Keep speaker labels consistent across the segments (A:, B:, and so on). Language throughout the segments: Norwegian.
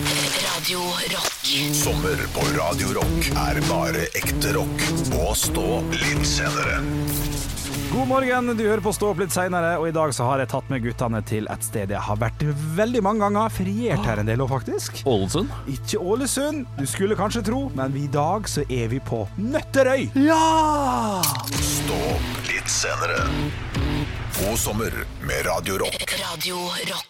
A: Radio Rock.
B: Sommer på Radio Rock er bare ekte rock. Og stå litt senere.
C: God morgen, du hører på Stå opp litt seinere, og i dag så har jeg tatt med guttene til et sted jeg har vært veldig mange ganger. Feriert her en del òg, faktisk.
D: Ålesund?
C: Ikke Ålesund, du skulle kanskje tro, men i dag så er vi på Nøtterøy.
B: Stå opp litt senere. God sommer med Radio Rock.
A: Radio Rock.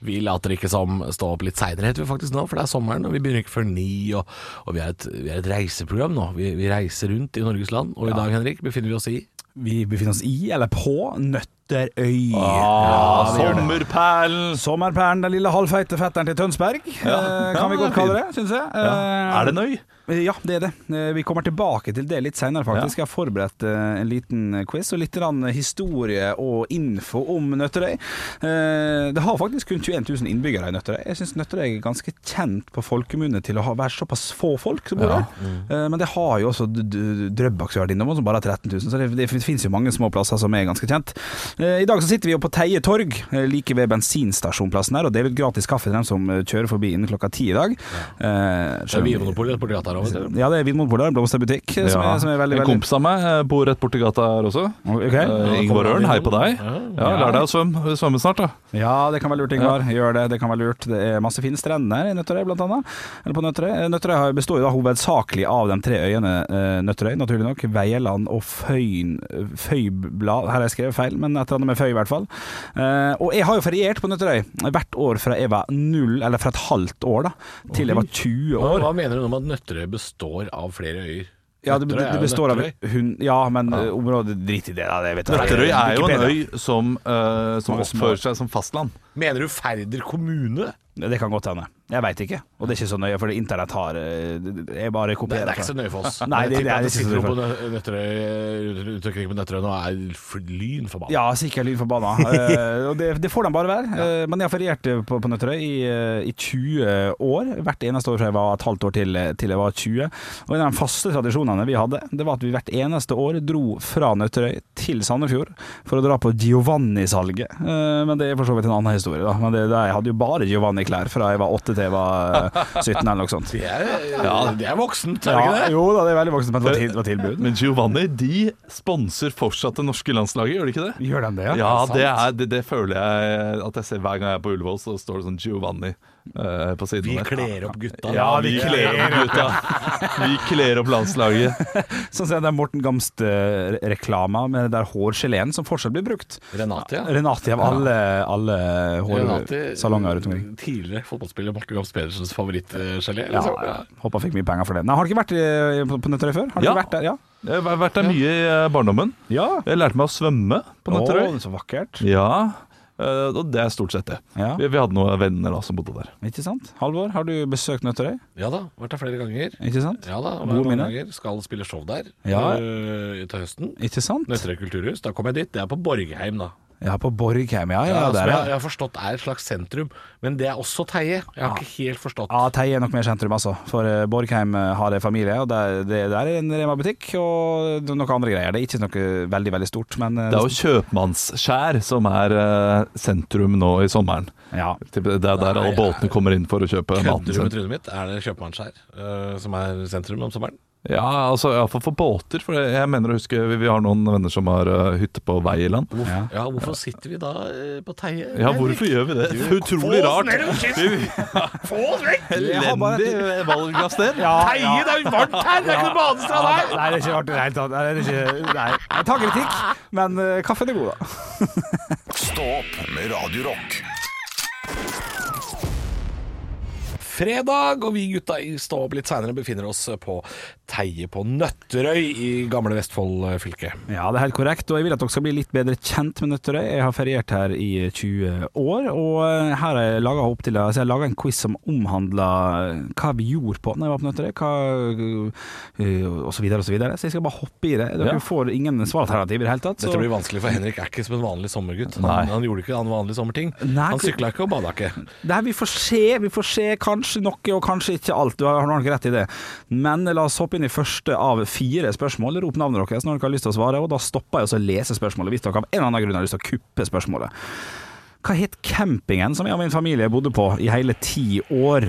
D: Vi later ikke som stå opp litt seinere, heter vi faktisk nå, for det er sommeren, og vi begynner ikke før ni. Og, og vi, er et, vi er et reiseprogram nå. Vi, vi reiser rundt i Norges land, og i dag, Henrik, befinner vi oss i
C: Vi befinner oss i, eller på, Nøtterøy. Ja, vi gjør det.
E: Ah, Sommerperlen!
C: Sommerperlen, den lille halvfeite fetteren til Tønsberg, eh, kan
E: Ja,
C: vi godt
E: det er
C: kalle det, syns jeg. Eh,
E: Er det en øy?
C: Ja, det er det. Eh, Vi kommer tilbake til det litt senere, faktisk. Jeg har forberedt eh, en liten quiz og litt grann historie og info om Nøtterøy. Eh, Det har faktisk kun 21 000 innbyggere i Nøtterøy. Jeg syns Nøtterøy er ganske kjent på folkemunne til å ha- være såpass få folk som bor der.
D: Mm.
C: Eh, Men det har jo også d- d- Drøbak som har vært innom, som bare har 13 000. Så det, det finnes jo mange små plasser som er ganske kjent. Eh, I dag så sitter vi jo på Teie torg, eh, like ved bensinstasjonplassen her, og deler ut gratis kaffe til dem som eh, kjører forbi innen klokka ti i dag. Eh,
D: Det er
C: selv om-
D: Vinmonopolet rett borti gata her. vet
C: eh,
D: du.
C: ja, det er Vinmonopolet, en blomsterbutikk eh, som, er, som er veldig,
E: En
C: veldig
E: kompis av meg eh, bor rett borti gata her også.
C: Ok.
E: Eh, Ingvar Ørn, hei på deg. Ja, Lær deg å svømme, svømme snart, da.
C: Ja, det kan være lurt, Ingvar. Gjør det, det kan være lurt. Det er masse fine strender i Nøtterøy, blant annet. Eller på Nøtterøy. Eh, Nøtterøy har- består jo da hovedsakelig av de tre øyene eh, Nøtterøy, naturlig nok. Veieland og Føyn Føyblad Her har jeg skrevet feil, men et eller annet med Føy, i hvert fall. Eh, og jeg har jo feriert på Nøtterøy hvert år fra jeg var null, eller fra et halvt år, da, til jeg var 20
D: Hva,
C: år.
D: hva mener du om at Nøtterøy består av flere øyer?
C: Ja, det,
D: Nøtterøy er
C: det
D: jo
C: består av
D: Nøtterøy.
C: hun, Ja, men eh, området Drit i det, da. Det vet jeg.
E: Nøtterøy er jo en
C: Wikipedia.
E: øy som, eh, som
C: Mange små.
E: oppfører seg som fastland.
D: Mener du Færder kommune?
C: Det kan godt hende. Jeg veit ikke. Og det er ikke så nøye, for internett har eh, det- det- Jeg bare
D: Det,
C: kopierer.
D: det er ikke så nøye for oss.
C: Nei, det-
D: Jeg tipper
C: det er
D: at
C: ikke så
D: sitter
C: nøye
D: noen
C: for-
D: på Nø- Nøtterøy rundt, rundt omkring på Nøtterøy nå og er f- lyn forbanna.
C: Ja, sikkert lyd forbanna. Eh, og det, det får de bare være. Eh, men jeg har feriert eh, på, på Nøtterøy i, eh, i 20 år. Hvert eneste år fra jeg var et halvt år til, eh, til jeg var 20. Og en av de faste tradisjonene vi hadde, det var at vi hvert eneste år dro fra Nøtterøy til Sandefjord for å dra på Giovanni-salget. Eh, men det er for så vidt en annen historie, da. Men det, det, jeg hadde jo bare Giovanni-klær fra jeg var 8 til jeg var eh, 17 eller noe sånt.
D: Det er, Eh, det er voksent, er det
C: Ja,
D: ikke det?
C: jo da, det er veldig voksent, men det var til- det var tilbud.
E: Men Giovanni de sponser fortsatt det norske landslaget, gjør de ikke det?
C: Gjør de det,
E: Ja, det, er, det, det føler jeg at jeg ser hver gang jeg er på Ullevål, så står det sånn Giovanni eh, på siden
D: Vi
E: der.
D: kler opp gutta.
E: Ja, vi kler opp gutta. Vi kler opp landslaget.
C: Sånn som den Morten Gamst-reklama med det der hårgeleen som fortsatt blir brukt.
D: Renate, ja.
C: Renati av alle, alle hårsalonger rundt omkring.
D: Tidligere fotballspiller Martin Gams Pedersens eh, favorittgelé.
C: Ja, ja. Håper han fikk mye penger for det. Nei, har du ikke vært eh, på på Nøtterøy før? Har du
E: Ja.
C: ikke vært der? Ja.
E: Jeg har vært der mye i eh, barndommen.
C: ja.
E: Jeg lærte meg å svømme på Nøtterøy.
C: Å, så vakkert.
E: Ja, eh, og det er stort sett det.
C: Ja.
E: Vi, vi hadde noen venner da som bodde der.
C: Ikke sant? Halvor, har du besøkt Nøtterøy?
D: Ja da, vært der flere ganger.
C: Ikke sant?
D: Ja da,
C: Gode
D: vært mange
C: minner.
D: ganger. Skal spille show der
C: Ja.
D: øh, til høsten.
C: Ikke sant?
D: Nøtterøy kulturhus. Da kom jeg dit. Det er på Borgheim, da.
C: Ja, på Borgheim, ja. ja,
D: som
C: der,
D: jeg, jeg
C: ja.
D: har forstått er et slags sentrum, men det er også Teie. Jeg har ikke helt forstått.
C: Ja, Teie er nok mer sentrum, altså. For eh, Borgheim eh, har en familie, og der, det, der er en Rema-butikk og noen andre greier. Det er ikke noe veldig, veldig stort, men eh,
E: Det er jo Kjøpmannsskjær som er eh, sentrum nå i sommeren.
C: ja.
E: Typ, Det er der alle båtene kommer inn for å kjøpe maten
D: Kødder du med
E: sin.
D: trynet mitt? Er det Kjøpmannsskjær øh, som er sentrum om sommeren?
E: Ja, altså iallfall for båter. For jeg mener å huske vi, vi har noen venner som har eh, hytte på Veiland.
D: Hvorfor,
C: Ja.
D: ja. hvorfor sitter vi da øh, på Teie?
E: Ja, hvorfor gjør vi det? Det er utrolig rart.
D: Få oss vekk!
C: Jeg har bare-
E: Elendig valg av sted.
D: Teie, det er jo varmt her! Det er ikke noe badestrand her!
C: Nei, det er ikke artig i det hele tatt. Nei, det er ikke- Nei, jeg tar kritikk, men eh, kaffen er god, da.
B: Stå opp med Radio Rock.
D: fredag, og vi gutta i Stå opp litt seinere befinner oss på Teie på Nøtterøy i gamle Vestfold eh, fylke.
C: Ja, det er helt korrekt, og jeg vil at dere skal bli litt bedre kjent med Nøtterøy. Jeg har feriert her i 20 år, og eh, her har jeg laga opp til altså jeg har laget en quiz som omhandler hva vi gjorde på når jeg var på Nøtterøy, hva, eh, og så videre og så videre. Så jeg skal bare hoppe i det. Dere
E: Ja.
C: får ingen svaralternativer i det hele tatt.
D: Dette
C: så-
D: blir vanskelig, for Henrik er ikke som en vanlig sommergutt.
E: Nei.
D: Han, han gjorde ikke en vanlig sommerting.
C: Nei,
D: han sykla ikke og bada ikke.
C: Det her, vi får se, vi får se kanskje noe og kanskje ikke alt. Du har, du har nok rett i det. Men la oss hoppe inn i første av fire spørsmål. Rop navnet deres når dere har lyst til å svare, og da stopper jeg også å lese spørsmålet hvis dere av en eller annen grunn har lyst til å kuppe spørsmålet. Hva het campingen som jeg og min familie bodde på i hele ti år?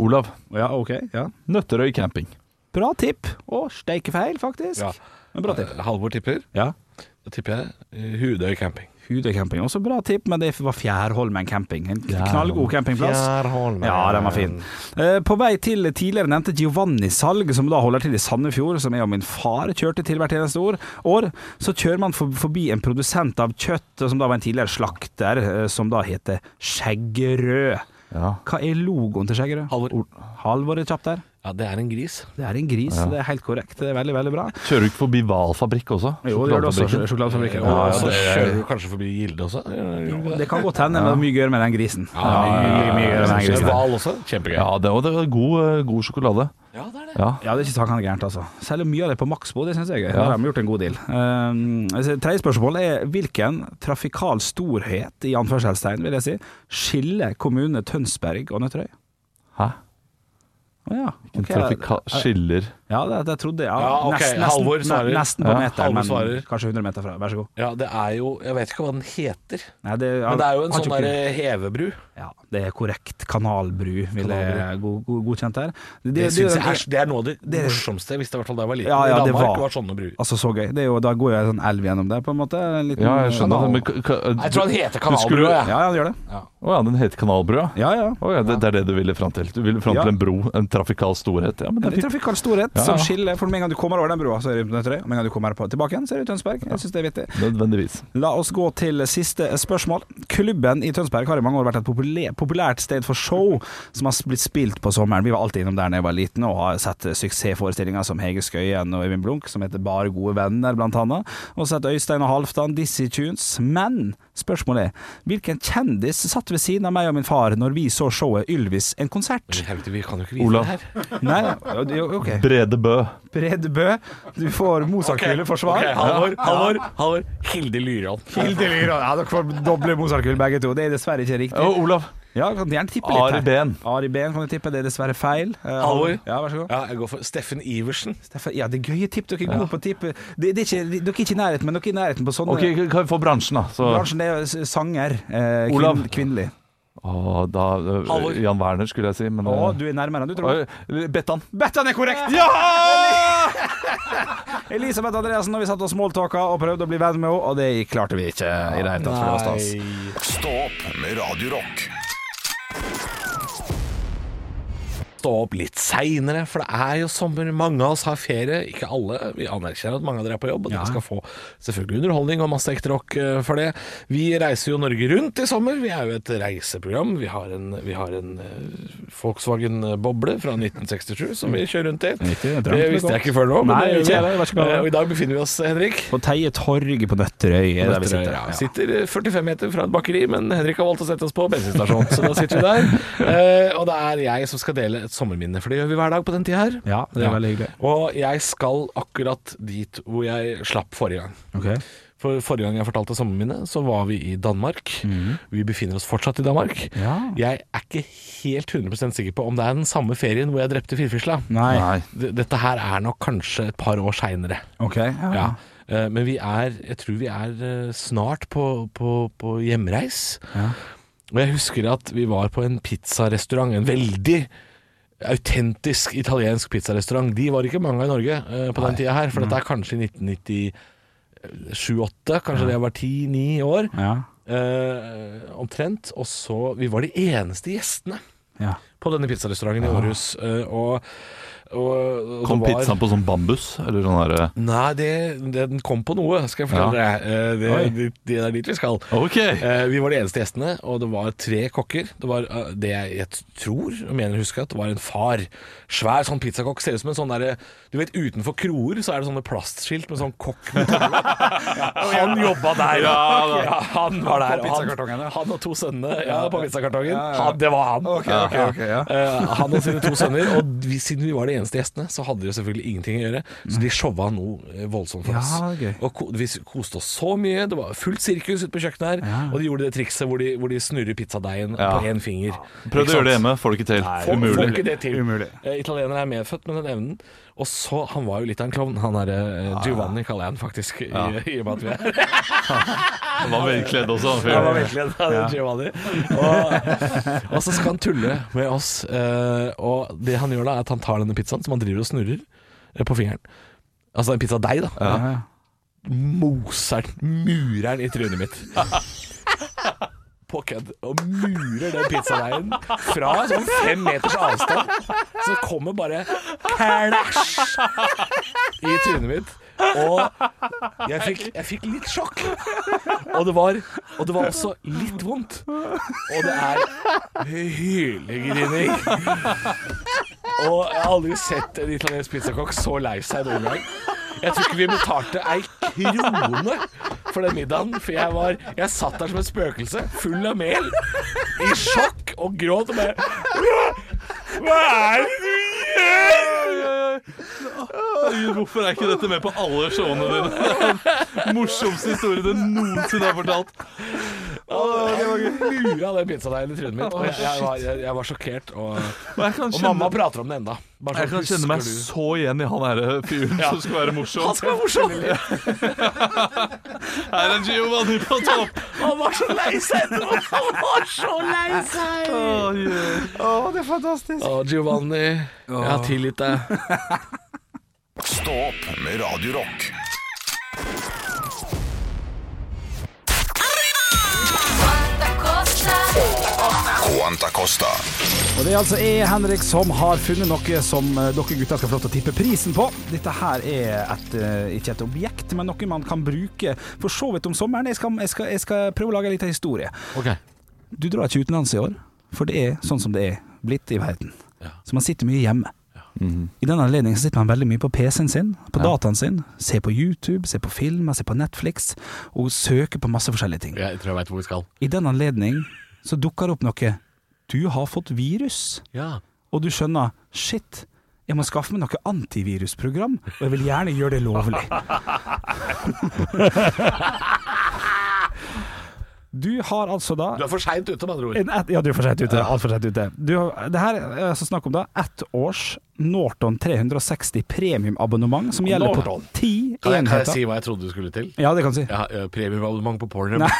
E: Olav,
C: Ja, ok. Ja.
E: Nøtterøy camping.
C: Bra tipp. Å, steike feil, faktisk.
D: Ja.
C: Men bra tipp.
D: Eh, Halvor tipper.
C: Ja.
D: Da tipper jeg eh, Hudøy camping.
C: Hudøy camping. Også bra tipp, men det var Fjærholmen camping. En knallgod campingplass.
D: Fjærholmen.
C: Ja, den var fin. Eh, På vei til tidligere nevnte Giovanni Salg, som da holder til i Sandefjord, som jeg og min far kjørte til hvert eneste år, år så kjører man for- forbi en produsent av kjøtt, som da var en tidligere slakter, eh, som da heter Skjeggerød.
E: Ja.
C: Hva er logoen til Skjeggerød?
D: Halvor.
C: Halvor er kjapt der.
D: Ja, det er en gris.
C: Det er en gris, det er helt korrekt. Det er veldig, veldig bra.
E: Kjører du ikke forbi Hvalfabrikk også?
C: Jo, det gjør det også. Sjokoladefabrikken.
E: Sjokoladefabrikken.
D: Ja,
C: Og
D: så
C: så-
D: kjører du kanskje forbi Gilde også? Ja,
C: Det kan godt hende, men det er mye gøyere med den grisen. Mye, mye gøyere med den grisen.
D: Hval også? Kjempegøy.
E: Ja, det var, det var god, eh, god sjokolade.
D: Ja, det er det.
E: Ja.
C: Ja, det er ikke sakene gærent, altså. Selv om mye av det er på maksbo, det syns jeg er gøy. Der har de gjort en god deal. Um, altså, Tredje spørsmål er hvilken trafikal storhet, i anførselstegn, vil jeg si, skiller kommunene Tønsberg og Nøtterøy?
E: Hæ?
C: Å ja.
E: En
C: ok.
E: trafikal skiller
C: Ja, det, det trodde jeg.
D: Ja, ok,
C: Nesten- nesten-
D: Halvor svarer.
C: ne- Nesten på
E: Ja,
C: meteren,
D: Halvor
C: men
D: svarer.
C: kanskje 100 meter fra. Vær så god.
D: Ja, det er jo Jeg vet ikke hva den heter,
C: Nei, det,
D: men det er jo en
C: har
D: sånn
C: ikke-
D: der hevebru.
C: Ja, det er korrekt. Kanalbru vil jeg god, god, godkjent her. Det,
D: Det,
C: det-
D: synes
C: det-
D: jeg er, det er noe av det,
C: det-
D: morsomste jeg visste i hvert fall da jeg var liten.
C: Ja, ja,
D: I
C: det
D: Danmark
C: var-
D: var, sånne bruer.
C: Altså, så gøy. Det er jo, da går jeg en sånn elv gjennom der, på en måte. En liten
E: Ja, jeg skjønner.
C: kanal.
E: Men, ka- ka-
D: Jeg tror han heter
E: Du skulle-
D: Kanalbrua, jeg.
C: Ja, ja, det gjør det.
E: Å ja, den heter Kanalbrua?
C: Ja, ja.
E: Å ja, det, det er det du ville fram til. Du ville fram
C: Ja.
E: til en bro, en trafikal storhet. Ja, men
C: Ja,
E: det
C: Det er
E: er fint.
C: trafikal storhet
E: Ja, ja.
C: som skiller. For Med en gang du kommer over den brua, så er det Nøtterøy. Og Med en gang du kommer på, tilbake igjen, så er det Tønsberg. Jeg synes det er vittig.
E: Nødvendigvis.
C: La oss gå til siste spørsmål. Klubben i Tønsberg har i mange år vært et populær, populært sted for show som har blitt spilt på sommeren. Vi var alltid innom der da jeg var liten og har sett suksessforestillinger som Hege Skøyen og Øyvind Blunk, som heter Bare gode venner, blant annet. Og sett Øystein og Halvdan, Dizzie Tunes. Men spørsmålet er, hvilken kjendis satt ved siden av meg og min far når vi så showet Ylvis en konsert?
D: Men Helvete, vi kan jo ikke vite
E: Olav.
D: det her.
C: Nei, ok.
E: Brede Bø.
C: Brede Bø, du får Mozartkule for svar.
D: Ok, Halvor, Halvor, Halvor. Hilde Lyrån.
C: Hilde Lyra. Ja, dere får doble Mozartkule begge to. Det er dessverre ikke riktig.
D: Oh,
E: Å, Olav.
C: Ja, kan du gjerne tippe litt.
E: Ari
C: her.
E: Behn.
C: Ari Behn kan du tippe. Det er dessverre feil. Eh,
D: Halvor.
C: Ja, vær så god.
D: Ja, jeg går for Steffen Iversen.
C: Steffen- Ja, det er gøye tipp. Dere er gode på å tippe. Det, det er ikke, dere er ikke i nærheten, men dere er i nærheten på sånne
E: Ok, kan vi få bransjen, da? Så,
C: Bransjen det er jo s- sanger. Eh,
E: Olav.
C: kvinn, kvinnelig.
E: å, da øh,
D: Halvor.
E: Jan Werner, skulle jeg si, men
C: Å,
E: øh,
C: du er nærmere enn du tror.
E: øh, Bettan.
C: Bettan er korrekt! Ja! Elisabeth Andreassen og vi satt og smalltalka og prøvde å bli venn med henne, og det gikk- klarte vi ikke i det hele tatt. for det var stas.
B: Stå opp med Radio Rock.
D: Stå opp litt seinere, for det er jo sommer. Mange av oss har ferie. Ikke alle. Vi anerkjenner at mange av dere er på jobb, og dere skal få selvfølgelig underholdning og masse ekte rock eh, for det. Vi reiser jo Norge rundt i sommer. Vi er jo et reiseprogram. Vi har en, vi har en eh, Volkswagen Boble fra 1967 som vi kjører rundt i.
C: Riktig, det drømte
D: det
C: vi
D: visste
C: godt.
D: jeg ikke før nå. men
C: Nei,
D: det gjør
C: ikke jeg,
D: vi.
C: det var ikke klar over.
D: Eh, Og i dag befinner vi oss, Henrik.
C: På Teie torg på Nøtterøy er der vi sitter.
D: Ja, vi sitter eh, 45 meter fra et bakeri, men Henrik har valgt å sette oss på bensinstasjonen, så da sitter vi der. Eh, og det er jeg som skal dele et sommerminne, for det gjør vi hver dag på den tida her.
C: Ja, det er veldig hyggelig.
D: Og jeg skal akkurat dit hvor jeg slapp forrige gang.
C: Ok.
D: For Forrige gang jeg fortalte sommerminnet, så var vi i Danmark. Vi befinner oss fortsatt i Danmark.
C: Mhm. Ja.
D: Jeg er ikke helt 100 sikker på om det er den samme ferien hvor jeg drepte firfisla.
C: Nei.
D: D- Dette her er nok kanskje et par år seinere.
C: Ok. Ja.
D: Ja. Eh, Men vi er, jeg tror vi er eh, snart på, på, på hjemreis. Og jeg husker at vi var på en pizzarestaurant, en veldig autentisk italiensk pizzarestaurant. De var ikke mange av i Norge eh, på den tida her, for dette er kanskje i 1997-8, kanskje da jeg var 10-9 år,
C: Ja.
D: eh, omtrent. Og så, vi var de eneste gjestene
C: Ja.
D: på denne pizzarestauranten i Århus. eh, Og, og, og
E: Kom
D: det var-
E: pizzaen på sånn bambus? Eller sånn herre
D: Nei, det, det, den kom på noe, skal jeg fortelle deg. Eh,
E: Oi.
D: Det, det, det er dit vi skal.
E: Ok!
D: Eh, Vi var de eneste gjestene, og det var tre kokker. Det var eh, det jeg jeg tror, jeg mener husker jeg, at det var en far. Svær sånn pizzakokk. Ser ut som en sånn derre Du vet utenfor kroer så er det sånne plastskilt med sånn kokk med tommel opp. Ja, Han jobba der, ja. ja han var der. og Han, han og to sønnene ja, på pizzakartongen. Han, det var han.
C: ok, ja.
D: Eh, han og sine to sønner. Og vi, siden vi var de eneste gjestene, så hadde de jo selvfølgelig ingenting å gjøre. Så de showa noe eh, voldsomt for
C: Ja,
D: oss.
C: det var gøy.
D: Og ko vi koste oss så mye. Det var fullt sirkus ute på kjøkkenet her. Og de gjorde det trikset hvor de, hvor de snurrer pizzadeigen
E: Ja.
D: på én finger.
E: Prøvde å gjøre det hjemme, får det ikke til.
D: Får,
E: Umulig.
D: får ikke det til.
C: Umulig.
D: Eh, italienere er medfødt med den evnen. Og så, Han var jo litt av en klovn. Han er, eh, Giovanni kaller jeg han faktisk, i, i og med at vi er
E: Han var velkledd også, han
D: Han
E: fyren.
D: var virkelig en av Giovanni. Og, og så skal han tulle med oss. eh, og det han gjør da, er at han tar denne pizzaen som han driver og snurrer eh, på fingeren. Altså en pizza av deg, da.
C: Ja.
D: Moser den, murer den i trynet mitt. På kødd. Og murer den pizzadeigen fra sånn fem meters avstand. Så det kommer bare klæsj i trynet mitt. Og jeg fikk, jeg fikk litt sjokk. Og det, var, og det var også litt vondt. Og det er hylegrining. Og jeg har aldri sett en italiensk pizzakokk så lei seg noen gang. Jeg tror ikke vi betalte ei krone for den middagen, for jeg, var, jeg satt der som et spøkelse, full av mel, i sjokk og gråt og bare «Hva- Hva er det du
E: Herregud, Hvorfor er ikke dette med på alle showene dine? Den Morsomste historien du noensinne har fortalt.
D: Jeg mura den pizzadeigen i trynet mitt, og jeg, jeg, var, jeg, jeg var sjokkert. Og,
E: Og jeg kan
D: og
E: kjenne,
D: mamma prater om det enda. Bare
E: jeg
D: sånn,
E: kan kjenne meg
D: «Husker du?»
E: så igjen i han derre fyren som skal være morsom.
D: Han skal være morsom!
E: Her er Giovanni på topp!
D: Han var så lei seg etterpå! Han var så lei seg! Å, Giovanni. Jeg har tilgitt deg.
B: Stå opp med Radio Rock. Quanta Costa.
C: Og det er altså jeg, Henrik, som har funnet noe som eh, dere gutter skal få lov til å tippe prisen på. Dette her er et, eh, ikke et objekt, men noe man kan bruke for så vidt om sommeren. Jeg skal, jeg skal, jeg skal prøve å lage en liten historie. Du drar ikke utenlands i år, for det er sånn som det er blitt i verden. Så man sitter mye hjemme. I den anledningen så sitter man veldig mye på PC-en sin, på dataen sin, ser på YouTube, ser på filmer, ser på Netflix, og søker på masse forskjellige ting.
D: Jeg tror jeg veit hvor vi skal.
C: I den anledning så dukker det opp noe. Du har fått virus. Og du skjønner Shit, jeg må skaffe meg noe antivirusprogram Og jeg vil gjerne gjøre det lovlig Du har altså da
D: Du er for seint ute, med andre ord.
C: en et, Ja, du er for sent ute, alt for sent ute du, har- Det her er altså snakk om da Ett års Norton 360 premiumabonnement Som gjelder
D: Norton.
C: på ti
D: Kan jeg, kan jeg
C: enheter
D: si hva jeg trodde du skulle til?
C: Ja, det kan du si
D: Jeg har eh, premiumabonnement på Pornhub.
C: Nei.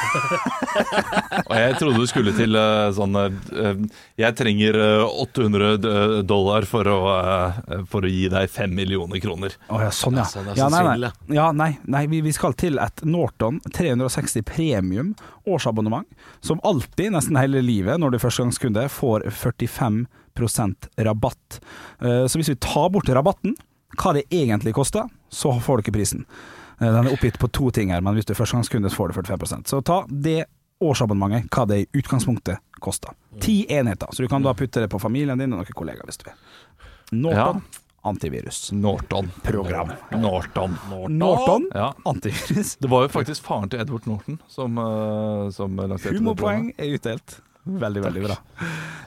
E: Og jeg trodde du skulle til eh, sånn eh, Jeg trenger eh, 800 d- dollar for å, eh, for å gi deg 5 millioner kroner.
C: Å ja, sånn ja.
D: Ja, sånn, det er
C: ja,
D: så
C: nei, nei.
D: svindel,
C: ja nei, nei, vi, vi skal til et Norton 360 premium årsabonnement, som alltid, nesten hele livet, når du er førstegangskunde, får 45 rabatt. Eh, Så hvis vi tar bort rabatten, hva det egentlig koster, så får du ikke prisen. Eh, Den er oppgitt på to ting her, men hvis du er førstegangskunde, så får du 45 Så ta det årsabonnementet, hva det i utgangspunktet koster. Ti enheter, så du kan da putte det på familien din og noen kollegaer, hvis du vil. Norton antivirus.
E: Norton.
C: Program.
E: Norton.
C: Norton,
E: Ja.
C: antivirus.
E: Det var jo faktisk faren til Edward Norton som, eh, som lanserte det
C: Humorpoeng er utdelt. Veldig, veldig bra.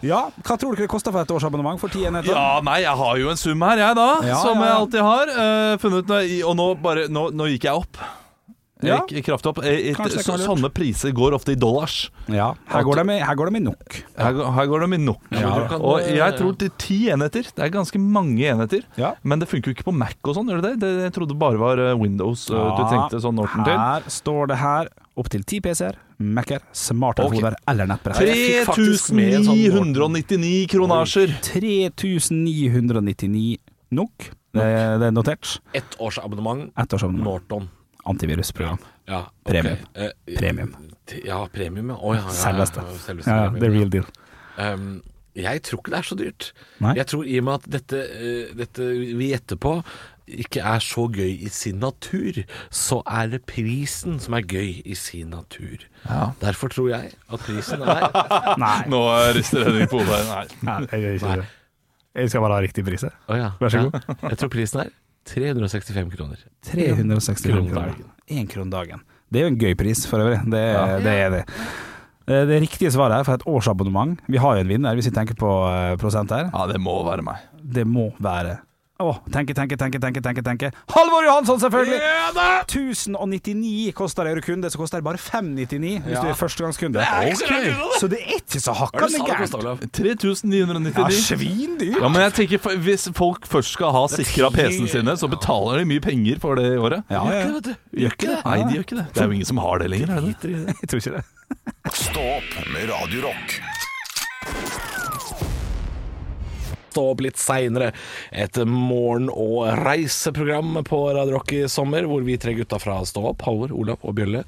C: Ja, hva tror dere det koster for et årsabonnement for ti enheter?
E: Ja, nei, jeg har jo en sum her, jeg da,
C: Ja,
E: som
C: ja,
E: jeg
C: ja.
E: alltid har. eh, funnet når jeg, Og nå, bare, nå, nå gikk jeg opp. Jeg
C: Ja.
E: gikk kraftig opp. Eh,
C: Kanskje det
E: så,
C: kan være lurt.
E: sånne priser går ofte i dollars.
C: Ja, her går det med, her går det med nok.
E: Her, går- her går det med nok.
D: men du kan- eh,
E: og jeg tror til ti enheter. Det er ganske mange enheter.
C: Ja.
E: Men det funker jo ikke på Mac og sånn, gjør det det? det? Jeg trodde det bare var eh, Windows eh, du tenkte sånn Norton til.
C: Her står det her opptil ti PC-er, Mac-er, smarttelefoner eller nettbrett.
D: Jeg fikk faktisk med en sånn Norton.
E: 3999 kronasjer.
C: 3999 nok. Det, det er notert.
D: Ett årsabonnement
C: Ett årsabonnement.
D: Norton.
C: Antivirusprogram.
D: Ja, ok.
C: Premium.
D: Eh,
C: Premium.
D: t- Ja, premium, ja. Å, ja, ja, ja.
C: Selveste.
D: Selveste
C: Ja,
D: premium,
C: the real deal.
D: Um, jeg tror ikke det er så dyrt.
C: Nei.
D: Jeg tror i og med at dette, eh, dette vi gjetter på ikke er så gøy i sin natur, så er det prisen som er gøy i sin natur. Derfor tror jeg at prisen er Å
C: Nei,
E: Nå rister Henrik på hodet. her. Nei.
C: nei, jeg gjør ikke det. Jeg skal bare ha riktig pris. jeg.
D: ja.
C: Vær så
D: Ja. Jeg tror prisen er 365 kroner.
C: 365
D: Kroner
C: kroner.
D: dagen.
C: Én krone dagen. Det er jo en gøy pris, for øvrig. Det, det er det. Eh, Det riktige svaret her for et årsabonnement Vi har jo en vinner, hvis vi tenker på eh, prosent her.
E: Ja, det må være meg.
C: Det må være Åh, tenke, tenke, tenke, tenke, tenke, tenke. Halvor Johansson, selvfølgelig!
D: Ja da!
C: 1099 koster det eurokunde, så koster det bare 599 hvis
D: Ja.
C: du er førstegangskunde.
D: ikke så langt unna, det.
C: Så det er ikke så
D: Hva er det
C: hakkande
D: du sa det
C: gærent.
D: kostet, Olav?
E: 3999.
C: Ja, svindyr.
E: Ja, men jeg tenker for- Hvis folk først skal ha sikra
D: ti-
E: PC-en sine, så betaler de mye penger for det i året.
C: Ja, ja.
E: Gjør ikke det, vet du. Gjør ikke det? Nei, de gjør ikke det. Det er jo ingen som har det lenger. Er det? det?
C: Jeg tror ikke det.
B: Stå opp med Radio Rock.
D: Stå opp litt seinere. Et morgen- og reiseprogram på Radio Rock i sommer, hvor vi tre gutta fra Stå opp, Halvor, Olav og Bjølle,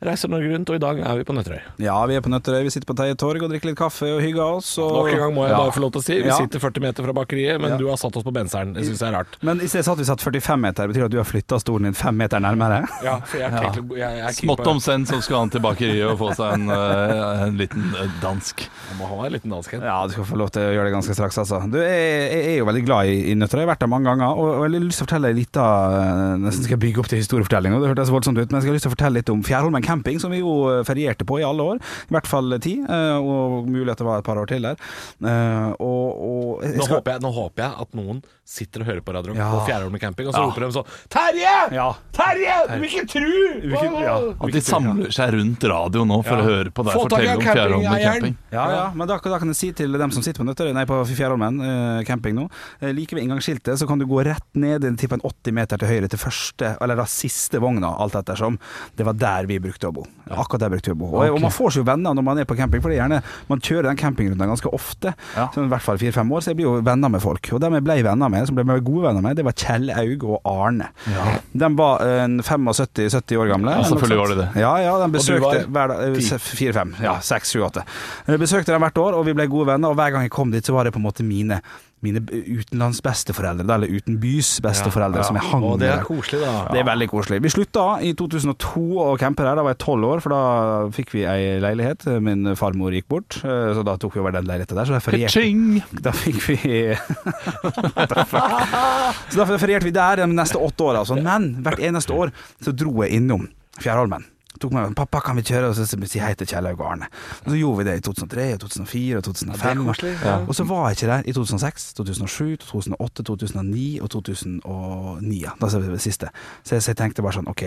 D: reiser Norge rundt, og i dag er vi på Nøtterøy.
C: Ja, vi er på Nøtterøy, vi sitter på Teie Torg og drikker litt kaffe og hygger oss. Og...
D: Nok en gang må jeg
C: Ja.
D: bare få lov til å si vi
C: Ja.
D: sitter 40 meter fra bakeriet, men du har satt oss på benseren. Det syns jeg er rart.
C: Men i stedet så at vi satt 45 meter, betyr det at du har flytta stolen din fem meter nærmere?
D: Ja, for jeg, har tenkt å- jeg, jeg er keen på-
E: Smått om senn som skal han til bakeriet og få seg en, eh, en liten eh, dansk.
D: Jeg må ha en liten dansk en.
C: Ja, du skal få lov til å gjøre det ganske straks, altså. Du, jeg, jeg er jo veldig glad i, i nøtter, jeg har vært der mange ganger. Og, og jeg har lyst til å fortelle litt av eh, Nesten skal jeg bygge opp til historiefortelling, og det hørtes voldsomt ut, men jeg skal ha lyst til å fortelle litt om Fjærholmen camping, som vi jo eh, ferierte på i alle år. I hvert fall ti, eh, og mulig at det var et par år til der. Eh, Og, og jeg
D: Nå
C: skal-
D: håper, jeg, nå håper jeg at noen sitter og hører på Radio Rock
C: Ja.
D: på Fjærholmen camping, og så roper de sånn Terje!
C: Ja.
D: Terje! Du vil ikke tru!
C: ikke- ja.
E: At de samler seg rundt radio nå for å
D: Ja.
E: høre på deg
D: Få tak i
E: fortelle om
D: en
E: Fjærholmen
D: campingeieren.
E: camping.
C: Ja, ja, men da, da kan jeg si til dem som sitter på Nøtterøy, nei, på Fjærholmen eh, camping nå, eh, like ved inngangsskiltet så kan du gå rett ned en tipp en 80 meter til høyre til første, eller da siste vogna, alt ettersom. Det var der vi brukte å bo. Akkurat der brukte vi å bo. Og, og man får seg jo venner når man er på camping, for det er gjerne, man kjører den campingrunden ganske ofte,
E: Ja.
C: sånn i hvert fall fire-fem år, så jeg blir jo venner med folk. Og dem jeg ble venner med, som ble med gode venner med, det var Kjell Aug og Arne. De var eh, en 75-70 år gamle.
E: Ja, selvfølgelig var de det.
C: Ja, ja, de besøkte
D: var
C: hver dag
D: ti?
C: eh, Fire-fem, ja, seks, sju, åtte. Jeg besøkte dem hvert år, og vi ble gode venner. Og hver gang jeg kom dit, så var det på en måte mine, mine utenlandsbesteforeldre, da, eller utenbys besteforeldre, som jeg hang
D: Og det
C: med.
D: er koselig, da.
C: Det er veldig koselig. Vi slutta i 2002 å campe her. Da var jeg tolv år, for da fikk vi ei leilighet. eh, Min farmor gikk bort, eh, så da tok vi over den leiligheten der. Så da ferierte
E: Ka-ching!
C: da fikk vi What the fuck? Så da ferierte vi der de neste åtte åra. Altså. Men hvert eneste år så dro jeg innom Fjærholmen. Tok meg med, Pappa, kan vi kjøre? Og så si hei til Kjellaug og Arne. Og så gjorde vi det i 2003, og 2004 og 2005. Og så var jeg ikke der i 2006, 2007, 2008, 2009 og 2009. Ja. Da ser vi det siste. Så jeg, så jeg tenkte bare sånn OK,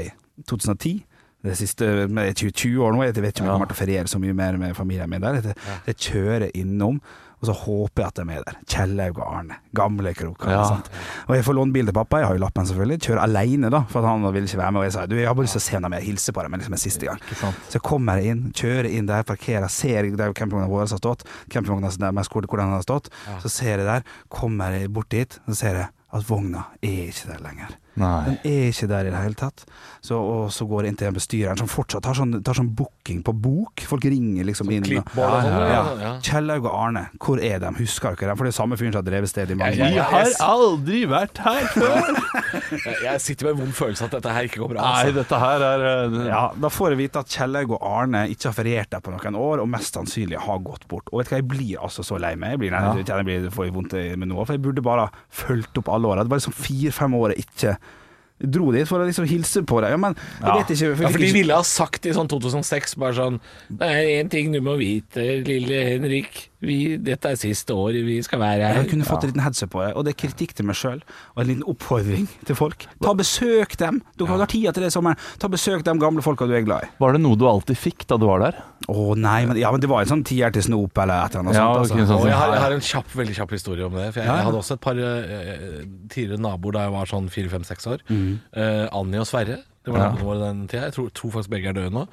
C: 2010 det siste men jeg er 20, 20 år nå, jeg vet ikke om jeg kommer til å feriere så mye mer med familien min der. Jeg, jeg kjører innom, og så håper jeg at de er der. Kjellaug og Arne. Gamle kroker.
E: Ja.
C: sant? Og jeg får låne bil til pappa, jeg har jo lappen selvfølgelig. Kjører alene, da, for at han ville ikke være med. Og jeg sa du, jeg har bare lyst til å se dem, jeg hilser på dem men liksom en siste gang. Så kommer jeg inn, kjører inn der, parkerer, ser der campingvogna vår har stått, campingvogna deres hvor, hvor den har stått. Så ser jeg der, kommer jeg bort dit, så ser jeg at vogna er ikke der lenger.
E: Nei.
C: Den er ikke der i det hele tatt. Så, og så går jeg inn til bestyreren, som fortsatt har sånn, tar sånn booking på bok. Folk ringer liksom inn. og-
D: klippbånd og sånn,
C: ja,
D: ja,
C: ja.
D: ja.
C: Kjellaug og Arne, hvor er de? Husker dere dem? For det er samme fyren som har drevet stedet i mange
D: Ja,
E: Vi
D: ja,
C: år.
E: har aldri vært her før!
D: Jeg, jeg sitter med en vond følelse at dette her ikke går bra.
E: Nei,
D: Altså.
E: dette her er eh,
C: Ja, da får jeg vite at Kjellaug og Arne ikke har feriert der på noen år, og mest sannsynlig har gått bort. Og vet du hva, jeg blir altså så lei meg. Jeg blir, nei, jeg kjenner jeg blir, får jeg vondt i- med noe, for jeg burde bare ha fulgt opp alle åra. Det var liksom fire-fem år jeg ikke dro dit for å liksom hilse på dem. Ja, men jeg vet ikke for
D: Ja,
C: jeg fikk
D: for de
C: ikke-
D: ville ha sagt i sånn 2006 bare sånn Det er én ting du må vite, lille Henrik. Vi, dette er siste året vi skal være her.
C: Jeg kunne fått en liten headset på det, og det er kritikk til meg sjøl, og en liten oppfordring til folk. Ta besøk dem! Du har tida til det i sommeren. Ta besøk de gamle folka du er glad i.
E: Var det noe du alltid fikk da du var der?
C: Å nei, men, ja, men det var en sånn tier til snop eller et eller annet
E: Ja,
C: sånt.
E: ok,
C: Altså.
E: sånn.
D: Og jeg har, jeg har en kjapp, veldig kjapp historie om det. For jeg, jeg hadde også et par eh, tidligere naboer da jeg var sånn fire-fem-seks år.
E: Mm.
D: Eh, Annie og Sverre. Det var naboene våre den tida. Jeg tror, tror faktisk begge er døde nå.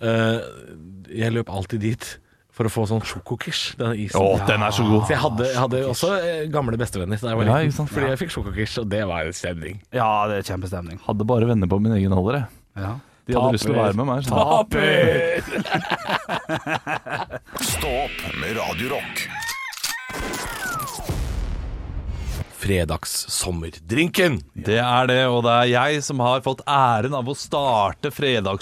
D: Eh, jeg løp alltid dit for å få sånn sjokokish, denne isen.
E: Å, den er så god.
D: Så jeg hadde, jeg hadde også eh, gamle bestevenner da jeg var
E: Ja,
D: liten,
E: ikke sant?
D: fordi jeg fikk sjokokish, og det var en stemning.
C: Ja, det er kjempestemning.
E: Hadde bare venner på min egen alder, jeg.
C: Ja.
E: De hadde lyst til å være med meg. skjønner du.
B: Stå opp med Radio Rock.
D: Fredagssommerdrinken.
E: Det er det, og det er jeg som har fått æren av å starte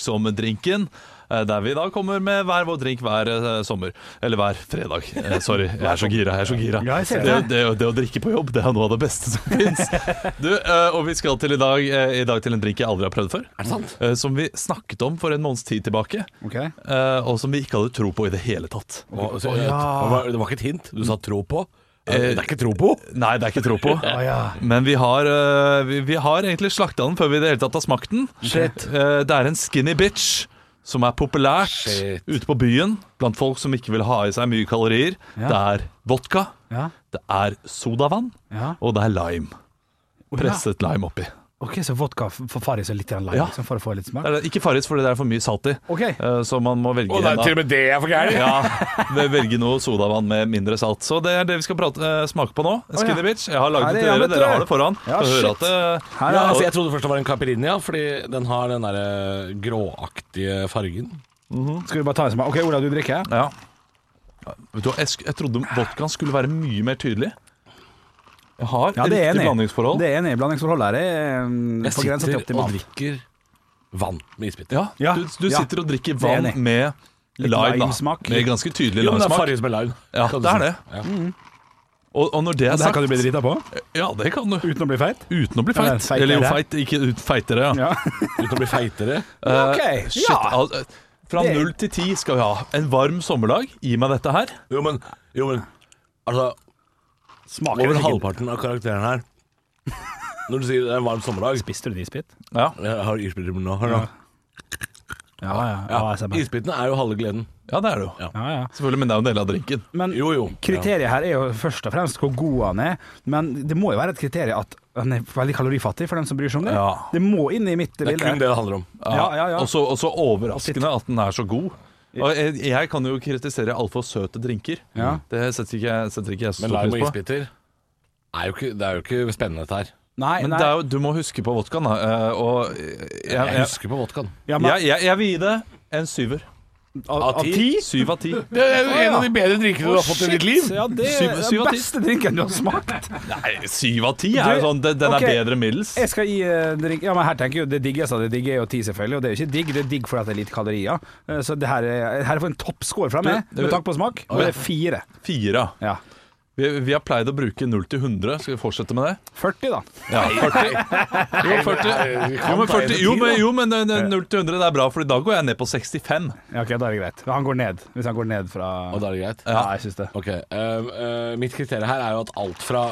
E: fredagssommerdrinken. eh, Der vi da kommer med hver vår drink hver eh, sommer. Eller hver fredag. Eh, Sorry, jeg er så gira. jeg er så gira
C: Ja, jeg ser
E: det,
C: det.
E: det, det å drikke på jobb det er noe av det beste som fins. Og vi skal til i dag, eh, i dag til en drink jeg aldri har prøvd før.
D: Er det sant?
E: eh, Som vi snakket om for en måneds tid tilbake,
C: Ok.
E: eh, og som vi ikke hadde tro på i det hele tatt.
D: Og- og- Det var ikke et hint. Du sa tro på. Eh, Det er ikke tro på.
E: Nei, det er ikke tro på. Men vi har, eh, vi, vi har egentlig slakta den før vi i det hele tatt har smakt den.
D: Shit.
E: Eh, det er en skinny bitch som er populært
D: Shit.
E: ute på byen blant folk som ikke vil ha i seg mye kalorier. Det er vodka,
C: Ja.
E: det er sodavann,
C: Ja.
E: og det er lime. Presset lime oppi.
C: Ok, så vodka f- får Farris og litt grann lime,
E: Ja.
C: liksom, for å få litt smak?
E: Det er ikke Farris fordi det er for mye salt i,
C: Ok.
E: Eh, så man må velge
D: Og det
E: en
D: er
E: av-
D: til og med det jeg er for gæren.
E: Ja, ve- velge noe sodavann med mindre salt. Så det er det vi skal prate, eh, smake på nå. Skinny
C: Å, ja.
E: Bitch. Jeg har laget
C: Her er
E: det til dere.
C: jeg, vet du.
E: Dere har det foran.
C: Ja,
E: Skal høre
C: shit.
E: at eh, det-
C: Her
D: Ja,
C: er
D: altså, jeg trodde først det var en caipirinha, fordi den har den derre gråaktige fargen.
C: Skal vi bare ta en smak? Ok, Ola, du drikker?
E: Ja. Vet du hva, jeg, sk- jeg trodde vodkaen skulle være mye mer tydelig. Jeg har
C: Ja, det er
E: riktig
C: enig.
E: blandingsforhold.
C: Det er enig. Blandingsforholdet her er um,
D: Jeg
C: på grensa
D: sitter
C: til
D: og
C: optimalt.
D: drikker vann med isbiter.
E: Ja,
C: Ja,
E: Du, du
C: ja.
E: sitter og drikker
C: Det er
E: vann
C: enig.
E: med
C: Litt
E: lime, da.
C: limesmak.
E: Med ganske tydelig
D: Jo, men det er
E: limesmak.
D: farges med lime.
E: Ja,
D: kan du
E: det er
D: si.
E: det. Og, og når det
C: Det
E: er
C: her
E: sagt
C: kan du bli drita på
E: Ja, det kan du.
C: uten å bli feit.
E: Uten å bli
C: Eller
E: feit.
C: feitere.
E: Eller jo, feit, ikke ut- feitere, ja.
C: Ja.
D: Uten å bli feitere.
E: Eh,
C: Ok,
E: shit,
C: ja.
E: al- eh, Fra
C: Det-
E: null til ti skal vi ha. En varm sommerdag. Gi meg dette her.
D: Jo, men, jo, men Altså,
C: Smaker
D: over
C: det sikkert.
D: halvparten av karakteren her Når du sier det er en varm sommerdag
C: Spiste du det isbit?
E: Ja,
D: Jeg har isbiter nå. Hør nå.
C: Ja, ja. ja,
D: Ja,
C: ASMR.
D: isbitene er jo halve gleden.
E: ja det er det jo.
C: ja, ja.
E: Selvfølgelig, men det er jo en del av drinken.
C: Men
D: Jo, jo.
C: kriteriet her er jo først og fremst hvor god han er, men det må jo være et kriterium at han er veldig kalorifattig, for dem som bryr seg om det.
E: Ja.
C: Det må inn i mitt
D: Det er kun
C: bilde.
D: det det handler om.
C: Ja, ja, ja.
E: Og så og så overraskende at den er så god. Og jeg, jeg kan jo kritisere altfor søte drinker.
C: Ja.
E: Det setter ikke, jeg- setter ikke jeg så
D: Men
E: stor
D: lime og
E: pris på.
D: isbiter er jo ikke, Det er jo ikke spennende, dette her.
C: Nei,
E: Men
C: nei.
E: det er jo, du må huske på vodkaen, da. eh, Og jeg,
D: Jeg
E: jeg,
D: husker på vodkaen.
C: Ja, men,
E: jeg, jeg, jeg vil gi det en syver.
C: av,
D: av
C: av
D: ti?
C: ti?
E: Syv av ti.
D: Det er jo en av de bedre drinkene du har fått i ditt liv.
C: Ja, det
E: Syv-
C: er
E: syv
C: den
E: av ti.
C: beste drinken du har smakt.
E: Nei, syv av ti er jo
C: Du,
E: sånn Den, den
C: ok.
E: er bedre enn middels.
C: Jeg skal gi eh, drink Ja, men her tenker jeg jo det diggeste av det digge er jo ti, selvfølgelig. Og det er jo ikke digg, det er digg fordi at det er lite kalorier. Eh, Så det her er, her er for en toppscore fra meg,
E: Du-
C: med tanke på smak. Og det er fire.
E: Fire.
C: Ja.
E: Vi, vi har pleid å bruke null til 100. Skal vi fortsette med det?
C: 40, da.
E: Ja, 40. Jo, 40. Jo, men, 40, jo, men, jo, men eh, 0 til 100 det er bra, for i dag går jeg ned på 65.
C: Ja, ok, da er det greit. Han går ned. Hvis han går ned fra
D: Og da er det greit?
C: Ja, jeg syns det.
D: Ok, ehm, eh, Mitt kriterium her er jo at alt fra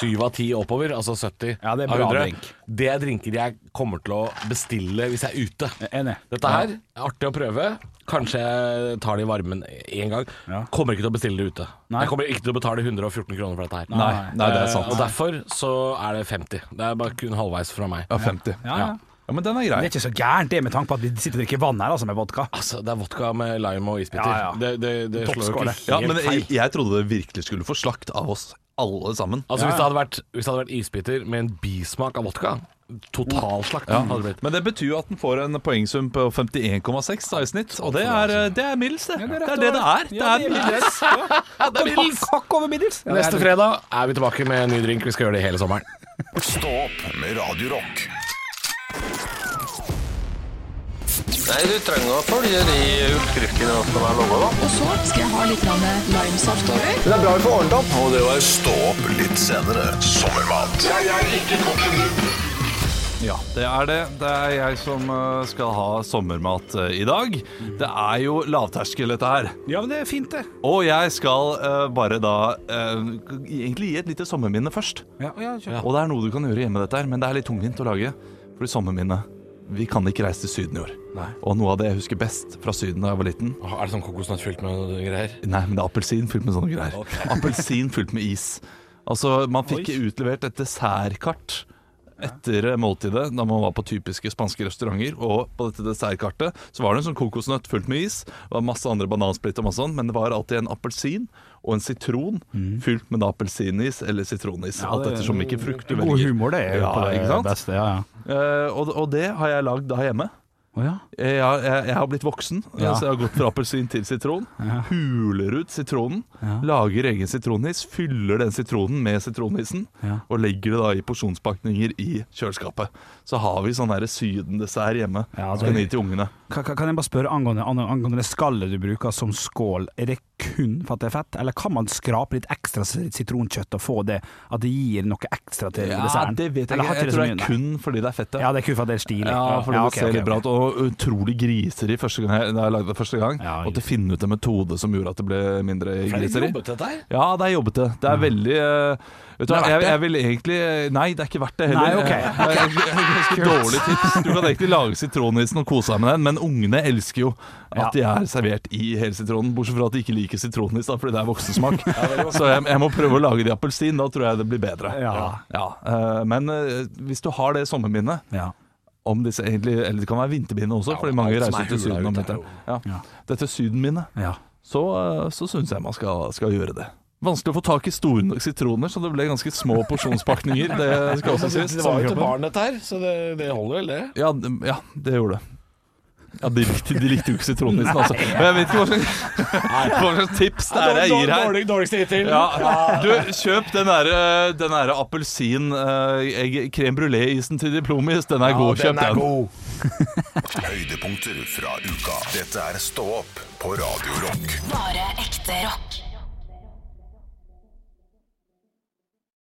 D: 7 av 10 oppover, altså 70
C: Ja, det er
D: av
C: bra
D: 100,
C: drink.
D: Det er drinker jeg kommer til å bestille hvis jeg er ute.
C: Enig.
D: Dette her er artig å prøve. Kanskje jeg tar det i varmen én gang.
C: Ja.
D: Kommer ikke til å bestille det ute.
C: Nei.
D: Jeg kommer ikke til å betale 114 kroner for dette her.
E: Nei, nei, det er
D: Eh, Og
E: sant.
D: derfor så er det 50. Det er bare kun halvveis fra meg.
E: Ja, 50.
C: Ja, ja.
E: Ja, men den er grei.
C: Det er ikke så gærent det, med tanke på at vi sitter og drikker vann her, altså, med vodka.
E: Ah,
D: Altså, det er vodka med lime og isbiter.
C: Ja, ja.
D: Det, det, det slår jo
C: Toppskåle.
D: ikke
E: Ja,
D: helt
E: men
D: feil.
E: jeg, jeg trodde det virkelig skulle få slakt av oss alle sammen.
D: Altså Hvis, det hadde vært, hvis det hadde vært isbiter med en bismak av vodka Totalslakt hadde det blitt.
E: Men det betyr jo at den får en poengsum på 51,6 da i snitt, og det er, eh, det er middels, det. Det er det det er. Det er middels.
C: Det er middels. Hakk over middels. Ja, det er
D: Neste fredag er vi tilbake med en ny drink. Vi skal gjøre det hele sommeren.
B: Stå opp med Radio Rock.
F: Nei, du trenger å følge de oppskriftene som er laga, da.
A: Og så skal jeg ha litt grann limesaft over.
F: Det er bra vi får ordnet opp. Og det var
B: Stå opp litt senere. Sommermat
E: Ja, det er det. Det er jeg som eh, skal ha sommermat eh, i dag. Det er jo lavterskel, dette her.
C: nydelig. Ja, men det er fint, det.
E: Og jeg skal eh, bare da eh, egentlig gi et lite sommerminne først.
C: Ja, ja, kjør.
E: Og det er noe du kan gjøre hjemme, dette her, men det er litt tungvint å lage. Fordi sommerminne Vi kan ikke reise til Syden i år.
D: Nei.
E: Og noe av det jeg husker best fra Syden da jeg var liten
D: Er det sånn kokosnøtt fylt med greier?
E: Nei, men det er appelsin fylt med sånne greier. Appelsin fylt med is. Altså, man fikk utlevert et dessertkart etter måltidet, da man var på typiske spanske restauranter. Og på dette dessertkartet så var det en sånn kokosnøtt fullt med is, og masse andre banansplitt og masse sånn, men det var alltid en appelsin og en sitron
C: Mm.
E: fylt med da appelsinis eller sitronis. alt ettersom hvilken frukt du
C: God
E: velger.
C: humor, det er jo
E: Ja,
C: på det
E: ikke sant?
C: beste. Ja, ja.
E: Eh, og, og det har jeg lagd da hjemme.
C: Å, ja.
E: Jeg, har- Eh, jeg, jeg har blitt voksen,
C: Ja.
E: så jeg har gått fra appelsin til sitron. Huler ut sitronen,
C: Ja.
E: lager egen sitronis, fyller den sitronen med sitronisen,
C: Ja.
E: og legger det da i porsjonspakninger i kjøleskapet. Så har vi sånn derre sydendessert hjemme.
C: Ja,
E: Ja,
C: det-
E: Skal gi til ungene.
C: Kan, kan- kan jeg bare spørre angående, angående det skallet du bruker som skål, er det kun for at det er fett, eller kan man skrape litt ekstra sitronkjøtt og få det at det gir noe ekstra til desserten?
E: det vet jeg
C: Eller
E: ikke.
C: har
E: Jeg
C: så
E: tror det
C: mye,
E: er
C: nei?
E: kun fordi det er fett.
C: Ja, det er kun for at det er stilig.
E: Ja, fordi
C: ok,
E: det ser
C: ok,
E: litt bra
C: ok.
E: ut. Og utrolig griseri første gang jeg, da jeg lagde det første gang.
C: Ja,
E: måtte finne ut en metode som gjorde at det ble mindre griseri.
D: dette her?
E: Ja, det er jobbete. Det er veldig eh, Vet du hva,
C: Det er verdt
E: jeg, jeg vil egentlig Nei, det er ikke verdt det heller.
C: Nei, ok.
E: Eh, Det er egentlig- ganske dårlig tips. Du kan egentlig lage sitronisen og kose deg med den, men ungene elsker jo at de er servert i hele sitronen. Bortsett fra at de ikke liker sitronis, da, fordi det er voksensmak. Så jeg, jeg må prøve å lage det i appelsin. Da tror jeg det blir bedre.
C: Ja.
E: Ja, eh, Men eh, hvis du har det sommerminnet
C: Ja.
E: om disse egentlig, eller Det kan være vinterbindet også,
D: Ja,
E: fordi mange
D: alt som
E: reiser
D: er
E: til
D: hula
E: Syden om
D: ute er
E: vinteren.
C: Ja.
E: Ja. Dette sydenminnet
C: Ja.
E: så, eh, så syns jeg man skal, skal gjøre det. Vanskelig å få tak i store nok sitroner, så det ble ganske små porsjonspakninger. Det skal også sies.
D: Det var jo til barn, dette her, så det, det holder vel, det.
E: Ja, d- ja, det gjorde det. Ja, De likte, de likte jo ikke sitronnisen, altså. Men jeg vet ikke hva slags, hva slags tips det er jeg gir her.
D: Dårligste hittil.
E: Ja. Du, kjøp den derre den der appelsin eh, egg- crème brulé-isen til Diplomis. Den er god. Kjøp den.
D: god.
B: Høydepunkter fra uka. Dette er Stå opp på Radio Rock.
G: Bare ekte rock.